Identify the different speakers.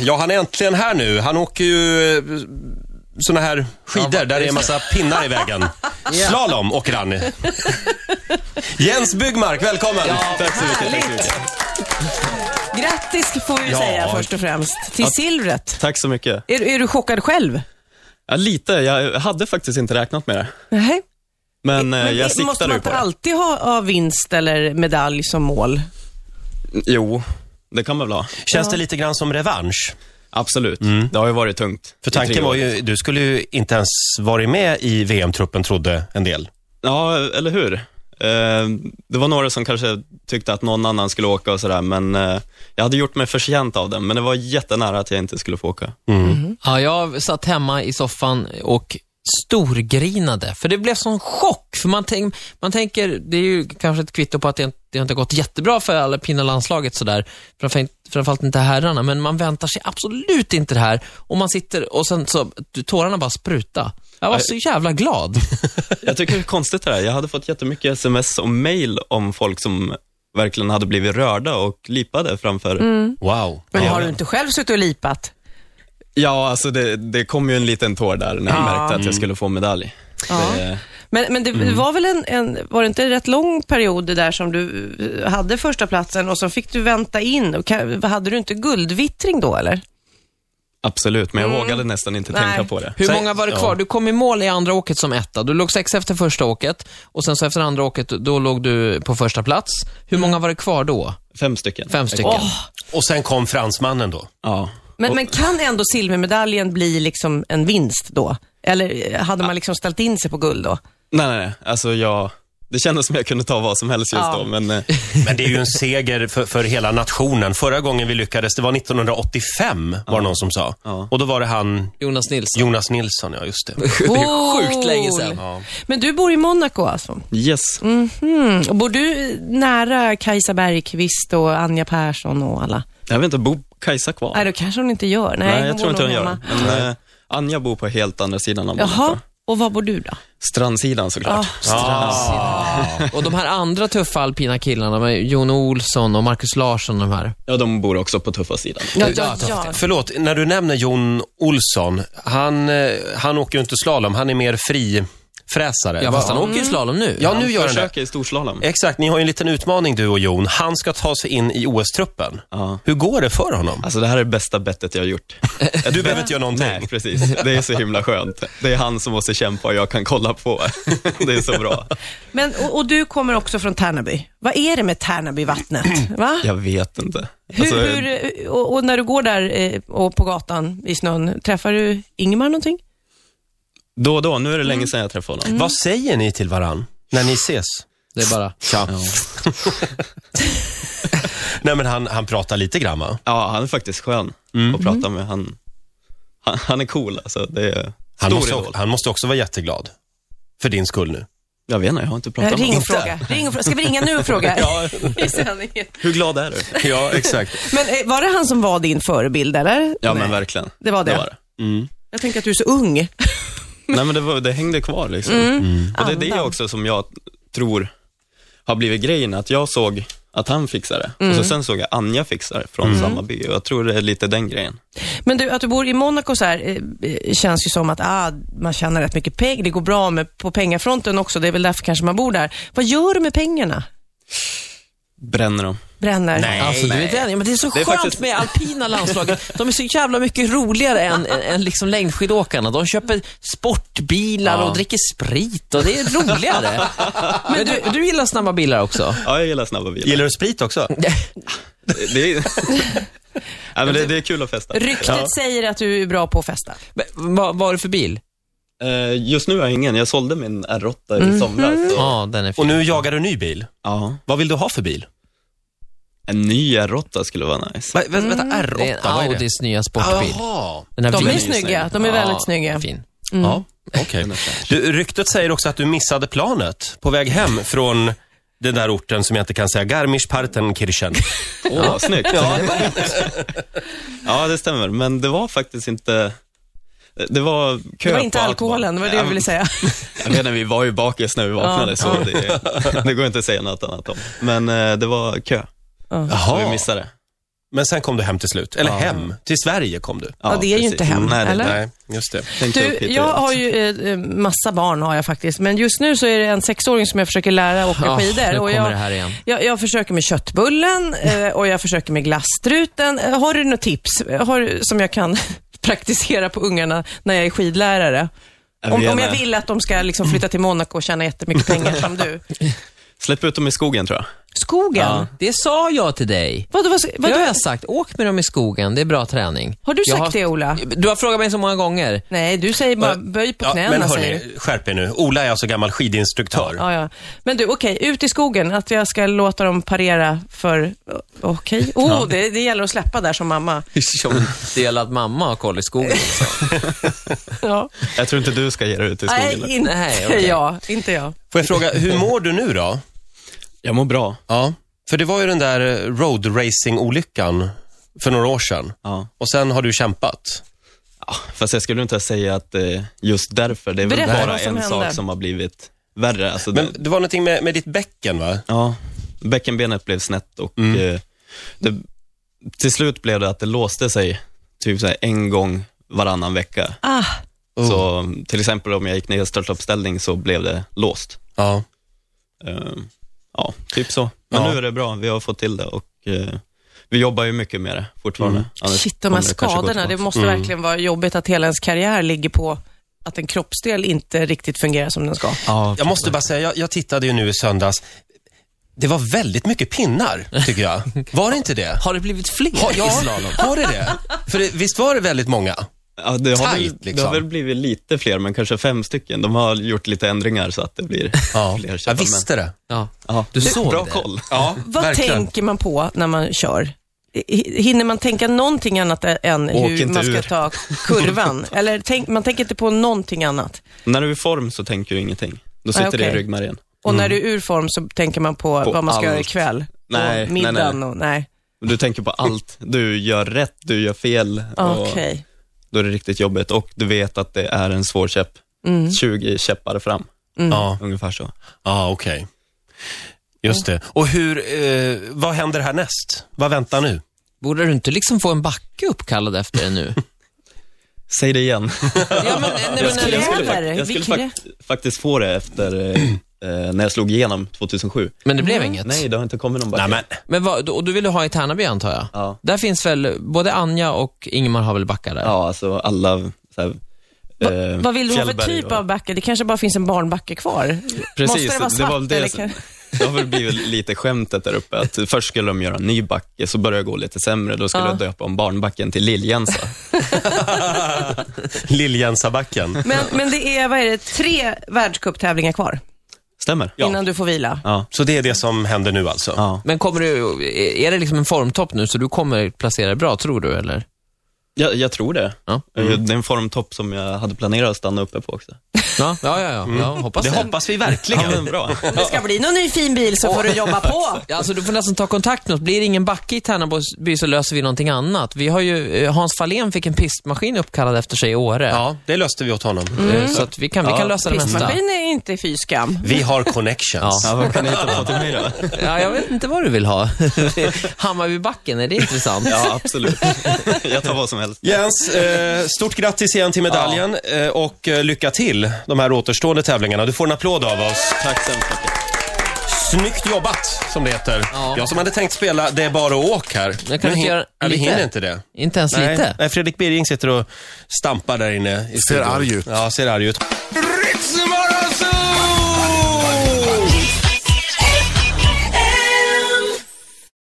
Speaker 1: Ja, han är äntligen här nu. Han åker ju eh, såna här skidor
Speaker 2: Ja, va-
Speaker 1: där det är en
Speaker 2: just
Speaker 1: massa pinnar i vägen. Slalom åker han. Jens Byggmark, välkommen! tack så mycket. Tack så mycket.
Speaker 3: Grattis får vi ju
Speaker 1: Ja.
Speaker 3: säga först och främst till silvret.
Speaker 2: Tack så mycket.
Speaker 3: Är, är du chockad själv?
Speaker 2: Ja, lite. Jag hade faktiskt inte räknat med det.
Speaker 3: Nej.
Speaker 2: Men, eh, jag
Speaker 3: det- måste
Speaker 2: siktade ju
Speaker 3: man
Speaker 2: på
Speaker 3: inte
Speaker 2: det.
Speaker 3: alltid ha, ha vinst eller medalj som mål?
Speaker 2: Jo, det kan man väl ha.
Speaker 1: Känns det lite grann som revansch?
Speaker 2: Absolut. Det har ju varit tungt.
Speaker 1: Mm. För
Speaker 2: i tre
Speaker 1: tanken var
Speaker 2: år.
Speaker 1: ju, du skulle ju inte ens varit med i VM-truppen trodde en del.
Speaker 2: Ja, eller hur? Eh, Det var några som kanske tyckte att någon annan skulle åka och sådär, men eh, jag hade gjort mig förtjänt av den, men det var jättenära att jag inte skulle få åka.
Speaker 4: Ja, jag satt hemma i soffan och storgrinade, för det blev sån chock. För man, tänk, man tänker, det är ju kanske ett kvitto på att det inte, det har inte gått jättebra för alla pinnalandslaget sådär. Framför- Framförallt inte herrarna, men man väntar sig absolut inte det här. Och man sitter och sen så, tårarna bara spruta. Jag var så jävla glad.
Speaker 2: Jag tycker det är konstigt det här. Jag hade fått jättemycket sms och mail om folk som verkligen hade blivit rörda och lipade framför.
Speaker 3: Mm.
Speaker 1: Wow.
Speaker 3: Men
Speaker 1: Ja.
Speaker 3: har du inte själv suttit och lipat?
Speaker 2: Ja, alltså det, det kom ju en liten tår där när jag märkte att jag skulle få medalj. Det,
Speaker 3: Men, men det
Speaker 2: Mm.
Speaker 3: var väl en, en, var det inte en rätt lång period det där som du eh, hade första platsen och så fick du vänta in. Och ka- Hade du inte guldvittring då eller?
Speaker 2: absolut, men jag vågade nästan inte
Speaker 3: Nej.
Speaker 2: tänka på det.
Speaker 4: Hur
Speaker 1: Så-
Speaker 4: många var det kvar?
Speaker 1: ja.
Speaker 4: Du kom i mål i andra åket som etta. Du låg sex efter första åket och sen så efter andra åket, då låg du på första plats. Hur många var det kvar då?
Speaker 2: Fem stycken.
Speaker 4: Fem stycken.
Speaker 1: Och sen kom fransmannen då.
Speaker 2: Ja.
Speaker 3: Men, men kan ändå silvermedaljen bli liksom en vinst då? Eller eh, hade man liksom ställt in sig på guld då?
Speaker 2: Nej, nej, nej. Alltså jag, det kändes som jag kunde ta vad som helst just
Speaker 3: Ja.
Speaker 2: då, men eh,
Speaker 1: Men det är ju en seger för, för hela nationen. Förra gången vi lyckades, det var 1985 var det någon som sa.
Speaker 2: Ja.
Speaker 1: Och då var det han
Speaker 4: Jonas Nilsson.
Speaker 1: Jonas Nilsson, ja just det.
Speaker 4: Det är sjukt länge sedan.
Speaker 1: Ja.
Speaker 3: Men du bor i Monaco alltså?
Speaker 2: yes. Mm.
Speaker 3: Mhm. Och bor du nära Kajsa Bergqvist och Anja Persson och alla?
Speaker 2: Jag vet inte, bor Kajsa kvar?
Speaker 3: Nej, det kanske hon inte gör. Nej,
Speaker 2: Nej, jag tror
Speaker 3: bor
Speaker 2: inte
Speaker 3: nog
Speaker 2: hon gör
Speaker 3: hemma.
Speaker 2: det. Men eh, Anja bor på helt andra sidan av
Speaker 3: Jaha,
Speaker 2: Monaco.
Speaker 3: och var bor du då?
Speaker 2: Strandsidan såklart.
Speaker 4: Och de här andra tuffa alpina killarna, med Jon Olsson och Marcus Larsson och de här.
Speaker 2: Ja, de bor också på tuffa sidan.
Speaker 3: Ja,
Speaker 4: ja,
Speaker 3: ja.
Speaker 1: Förlåt, när du nämner Jon Olsson, han, eh, han åker ju inte slalom, han är mer frifräsare.
Speaker 4: Ja,
Speaker 1: Va-
Speaker 4: fast han åker ju slalom nu.
Speaker 1: ja, nu gör han det.
Speaker 2: Försöker i storslalom.
Speaker 1: Exakt, ni har ju en liten utmaning du och Jon. Han ska ta sig in i OS-truppen.
Speaker 2: Ja.
Speaker 1: Hur går det för honom?
Speaker 2: Alltså det här är det bästa bettet jag har gjort.
Speaker 1: Du behöver inte göra någonting.
Speaker 2: Nej, precis. Det är så himla skönt. Det är han som måste kämpa och jag kan kolla på. Det är så bra.
Speaker 3: Men, och, och du kommer också från Tärnaby. Vad är det med Tärnabyvattnet? Va?
Speaker 2: Jag vet inte. Alltså,
Speaker 3: Hur, hur, och, och när du går där eh, och på gatan i snön, träffar du Ingemar någonting?
Speaker 2: Då och då, nu är det länge sedan jag träffade honom.
Speaker 1: Vad säger ni till varann när ni ses?
Speaker 4: Det är bara...
Speaker 1: Tja. Nej, men han, han pratar lite grann, va?
Speaker 2: Ja, han är faktiskt skön att prata med. Han, han, han är cool alltså. Det är
Speaker 1: Han
Speaker 2: stor
Speaker 1: måste,
Speaker 2: idol.
Speaker 1: han måste också vara jätteglad. För din skull nu.
Speaker 2: Jag vet inte, jag har inte pratat
Speaker 3: Eh,
Speaker 2: med
Speaker 3: Ring
Speaker 2: honom.
Speaker 3: och fråga. Ring och fråga. Ska vi ringa nu och fråga?
Speaker 2: Ja,
Speaker 3: I sändningen.
Speaker 2: hur glad är du?
Speaker 1: Ja, exakt.
Speaker 3: Men eh, var det han som var din förebild, eller?
Speaker 2: Ja,
Speaker 3: Nej.
Speaker 2: men verkligen.
Speaker 3: Det var det.
Speaker 2: det, var det.
Speaker 3: Jag tänker att du är så ung.
Speaker 2: Nej, men det, var, det hängde kvar liksom. Och det är det
Speaker 3: Mm. Andan.
Speaker 2: också som jag tror har blivit grejen, att jag såg att han fixade det.
Speaker 3: Mm.
Speaker 2: Och så sen såg jag Anja fixa det från samma by. Och jag tror det är lite den grejen.
Speaker 3: Men du, att du bor i Monaco så här, eh, eh, känns ju som att ah, man tjänar rätt mycket pengar. Det går bra med, på pengafronten också. Det är väl därför kanske man bor där. Vad gör du med pengarna?
Speaker 2: Bränner dem.
Speaker 3: Bränner?
Speaker 4: Alltså, du vet, ja, men det är så
Speaker 2: är
Speaker 4: skönt
Speaker 2: faktiskt-
Speaker 4: med alpina landslaget. De är så jävla mycket roligare än, än, än liksom längdskidåkarna. De köper sportbilar och dricker sprit och det är roligare. Men du, du gillar snabba bilar också?
Speaker 2: Ja, jag gillar snabba bilar.
Speaker 1: Gillar du sprit också?
Speaker 2: Det är, ja, men det, det är kul att festa.
Speaker 3: Ryktet säger att du är bra på att festa.
Speaker 4: Men Vad vad är det för bil?
Speaker 2: Eh, Just nu har jag ingen. Jag sålde min R8 i
Speaker 3: Mhm. Mm.
Speaker 2: somras. så-
Speaker 4: Ja, den är
Speaker 1: Och
Speaker 4: fin.
Speaker 1: nu jagar du ny bil.
Speaker 2: Ja.
Speaker 1: Vad vill du ha för bil?
Speaker 2: En ny R8 skulle vara nice.
Speaker 1: Va, vä- vänta, R8,
Speaker 4: Det är en
Speaker 1: vad är det?
Speaker 4: Audis nya sportbil.
Speaker 1: Jaha.
Speaker 4: Den här
Speaker 3: De
Speaker 4: vita.
Speaker 3: är
Speaker 2: ju
Speaker 3: snygga.
Speaker 2: snygga.
Speaker 3: De är väldigt snygga.
Speaker 4: Fin.
Speaker 1: Ja, okej. Du, Ryktet säger också att du missade planet på väg hem från den där orten som jag inte kan säga, Garmisch-Partenkirchen.
Speaker 2: Åh, snyggt. Ja, ja, det stämmer. Men det var faktiskt inte... Det var kö
Speaker 3: Det var inte
Speaker 2: på allt.
Speaker 3: alkoholen, det var det jag ville säga.
Speaker 2: Jag vet inte, vi var ju bakis när vi vaknade, så det, det går inte att säga något annat om. Men eh, det var kö, så vi
Speaker 1: Jaha.
Speaker 2: missade.
Speaker 1: Men sen kom du hem till slut. Eller hem. Till Sverige kom du.
Speaker 3: Ja, det är ju inte hem,
Speaker 2: Nej, det-
Speaker 3: eller?
Speaker 1: Nej, just det.
Speaker 2: Tänkte upp
Speaker 3: Du,
Speaker 2: hit
Speaker 3: jag
Speaker 2: direkt.
Speaker 3: har ju eh, eh, massa barn har jag faktiskt, men just nu så är det en sexåring som jag försöker lära åka
Speaker 4: Ah,
Speaker 3: skidor.
Speaker 4: nu
Speaker 3: och
Speaker 4: kommer
Speaker 3: jag,
Speaker 4: det här igen.
Speaker 3: Jag, jag försöker med köttbullen eh, och jag försöker med glasstruten. Eh, Har du något tips eh, har, du- som jag kan praktisera på ungarna när jag är skidlärare?
Speaker 2: Jag
Speaker 3: Om,
Speaker 2: vet
Speaker 3: om jag
Speaker 2: inte.
Speaker 3: vill att de ska liksom flytta till Monaco och tjäna jättemycket pengar som du.
Speaker 2: Släpp ut dem i skogen tror jag.
Speaker 3: Skogen?
Speaker 2: Ja.
Speaker 4: Det sa jag till dig.
Speaker 3: Vadå, vad,
Speaker 4: Det
Speaker 3: vadå?
Speaker 4: har jag sagt. Åk med dem i skogen, det är bra träning.
Speaker 3: Har du
Speaker 4: Jag
Speaker 3: sagt det, Ola?
Speaker 4: Du har frågat mig så många gånger.
Speaker 3: Nej, du säger bara böj på
Speaker 1: Ja,
Speaker 3: knäna.
Speaker 1: men
Speaker 3: säger du.
Speaker 1: hörni, skärp er nu. Ola är alltså gammal skidinstruktör.
Speaker 3: Ja, ja. Men du, okej, ut i skogen, att jag ska låta dem parera för... Okej, oh, det, det gäller att släppa där som mamma.
Speaker 4: Som delad mamma har koll i skogen.
Speaker 3: Ja.
Speaker 2: Jag tror inte du ska ge dig ut i skogen.
Speaker 3: Nej,
Speaker 2: eller?
Speaker 3: inte
Speaker 4: Nej, okej.
Speaker 3: jag. Inte jag.
Speaker 1: Får jag fråga, hur mår du nu då?
Speaker 2: Jag mår bra.
Speaker 1: Ja. För det var ju den där eh, road racing olyckan för några år sedan.
Speaker 2: Ja.
Speaker 1: Och sen har du kämpat.
Speaker 2: Ja, Fast jag skulle inte säga att det är just därför. Det är
Speaker 3: Berätta
Speaker 2: väl bara
Speaker 3: vad som
Speaker 2: en
Speaker 3: hände.
Speaker 2: sak som har blivit värre. Alltså det,
Speaker 1: Men det var någonting med, med ditt bäcken va?
Speaker 2: ja, bäckenbenet blev snett och
Speaker 1: Mm.
Speaker 2: eh, det, till slut blev det att det låste sig typ så här en gång varannan vecka.
Speaker 3: Ah,
Speaker 1: Oh.
Speaker 2: Så till exempel om jag gick ner i startuppställning så blev det låst.
Speaker 1: Ja.
Speaker 2: Eh, ja, typ så. Men
Speaker 1: Ja.
Speaker 2: nu är det bra. Vi har fått till det och eh, vi jobbar ju mycket med det fortfarande.
Speaker 1: Mm.
Speaker 2: Annars
Speaker 3: shit, de här
Speaker 2: kommer det kanske gå
Speaker 3: skadorna. Det
Speaker 2: tillbaka.
Speaker 3: måste verkligen vara jobbigt att hela ens karriär ligger på att en kroppsdel inte riktigt fungerar som den ska.
Speaker 4: Ja,
Speaker 1: Jag måste bara säga, jag, jag tittade ju nu i söndags. Det var väldigt mycket pinnar, tycker jag. Var det inte det?
Speaker 4: Har det blivit fler
Speaker 1: Ha,
Speaker 4: i
Speaker 1: ja,
Speaker 4: slalom?
Speaker 1: var det det? För det, visst var det väldigt många?
Speaker 2: Ja, det, har
Speaker 1: Tight,
Speaker 2: väl, det
Speaker 1: liksom.
Speaker 2: har väl blivit lite fler, men kanske fem stycken. De har gjort lite ändringar så att det blir
Speaker 1: Ja,
Speaker 2: fler.
Speaker 1: jag
Speaker 2: köpa,
Speaker 1: visste det.
Speaker 4: Ja.
Speaker 2: men- Ja.
Speaker 4: Du såg
Speaker 2: Bra
Speaker 4: det?
Speaker 2: koll.
Speaker 1: Ja,
Speaker 3: Vad tänker man på när man kör? H- Hinner man tänka någonting annat ä- än
Speaker 2: Åk
Speaker 3: hur
Speaker 2: inte
Speaker 3: man ska
Speaker 2: ur.
Speaker 3: ta kurvan? Eller tänk, man tänker inte på någonting annat?
Speaker 2: När du är i form så tänker du ingenting. Då sitter
Speaker 3: Ah, okej.
Speaker 2: det i ryggmärgen.
Speaker 3: Och när du är ur form så tänker man på,
Speaker 2: Mm. På
Speaker 3: vad man ska göra
Speaker 2: allt.
Speaker 3: ikväll.
Speaker 2: Nej, nej,
Speaker 3: och middagen
Speaker 2: nej.
Speaker 3: och nej.
Speaker 2: Du tänker på allt. Du gör rätt, du gör fel. och
Speaker 3: Ah, Okej.
Speaker 2: Då är det riktigt jobbigt och du vet att det är en svår käpp.
Speaker 3: Mm.
Speaker 2: 20 käppar fram,
Speaker 1: Ja,
Speaker 2: ungefär så.
Speaker 1: ja okej. Just det. Och hur, eh, vad händer härnäst? Vad väntar nu?
Speaker 4: Borde du inte liksom få en backe uppkallad efter dig nu?
Speaker 2: Säg det igen.
Speaker 4: ja, men, nej, men,
Speaker 2: Jag skulle, jag skulle,
Speaker 3: kräver.
Speaker 2: fak- jag skulle
Speaker 3: Vi krä-
Speaker 2: fak- faktiskt få det efter eh, eh, när jag slog igenom 2007.
Speaker 4: men det blev inget.
Speaker 2: Mm. Nej, det har inte kommit någon backe.
Speaker 1: Nej, men.
Speaker 4: Men vad, och du ville ha i Tärnaby antar jag?
Speaker 2: Ja.
Speaker 4: Där finns väl, både Anja och Ingemar har väl backar där?
Speaker 2: Ja, alltså alla så här, eh,
Speaker 3: Vad vill du ha för
Speaker 2: fjällberg
Speaker 3: typ
Speaker 2: och-
Speaker 3: av backe? Det kanske bara finns en barnbacke kvar.
Speaker 2: Precis,
Speaker 3: Måste det vara svart?
Speaker 2: det var väl det
Speaker 3: eller
Speaker 2: som-
Speaker 3: kan...
Speaker 2: Det har väl blivit lite skämtet där uppe, att först skulle de göra en ny backe, så började det gå lite sämre, då skulle
Speaker 3: Ja.
Speaker 2: jag döpa om barnbacken till Liljensa.
Speaker 1: Lilljensabacken.
Speaker 3: men, men det är, vad är det, tre världscuptävlingar kvar
Speaker 2: Stämmer?
Speaker 3: innan du får vila.
Speaker 2: Ja.
Speaker 1: Så det är det som händer nu alltså?
Speaker 2: ja.
Speaker 4: Men kommer du, är det liksom en formtopp nu så du kommer placera dig bra, tror du eller?
Speaker 2: Jag, jag tror det.
Speaker 4: Ja.
Speaker 1: Mm.
Speaker 2: Det är en formtopp som jag hade planerat att stanna uppe på också.
Speaker 4: Ja, ja, ja, ja. ja hoppas
Speaker 1: Det
Speaker 4: det.
Speaker 1: hoppas vi verkligen.
Speaker 2: Ja, men bra.
Speaker 3: Om det ska bli någon ny fin bil så får du jobba på.
Speaker 4: Ja, Alltså, du får nästan ta kontakt med oss. Blir det ingen backe i Tärnaby så löser vi någonting annat. Vi har ju, eh, Hans Fahlén fick en pistmaskin uppkallad efter sig i Åre.
Speaker 1: Ja, Mm. det löste vi åt honom.
Speaker 4: Eh, Så att vi kan, vi
Speaker 2: Ja,
Speaker 4: kan lösa det mesta.
Speaker 3: Pistmaskin är inte fy skam.
Speaker 1: Vi har connections.
Speaker 2: Ja, vad kan ni hitta på till mig då?
Speaker 4: Ja, jag vet inte vad du vill ha. Hammarbybacken, är det intressant?
Speaker 2: Ja, absolut. Jag tar vad som helst.
Speaker 1: Jens, eh, stort grattis igen till medaljen eh, och eh, lycka till de här återstående tävlingarna. Du får en applåd av oss.
Speaker 2: Tack så hemskt mycket.
Speaker 1: Snyggt jobbat, som det heter.
Speaker 4: Ja.
Speaker 1: Jag som hade tänkt spela Det är bara att åka här.
Speaker 4: Jag kan
Speaker 1: Nu
Speaker 4: inte
Speaker 1: hin-
Speaker 4: göra
Speaker 1: ja, vi
Speaker 4: lite.
Speaker 1: hinner inte det.
Speaker 4: Inte ens
Speaker 1: Nej.
Speaker 4: lite?
Speaker 1: Nej, Fredrik Birging sitter och stampar där inne. I
Speaker 5: Ser arg ut.
Speaker 1: Ja, ser arg ut.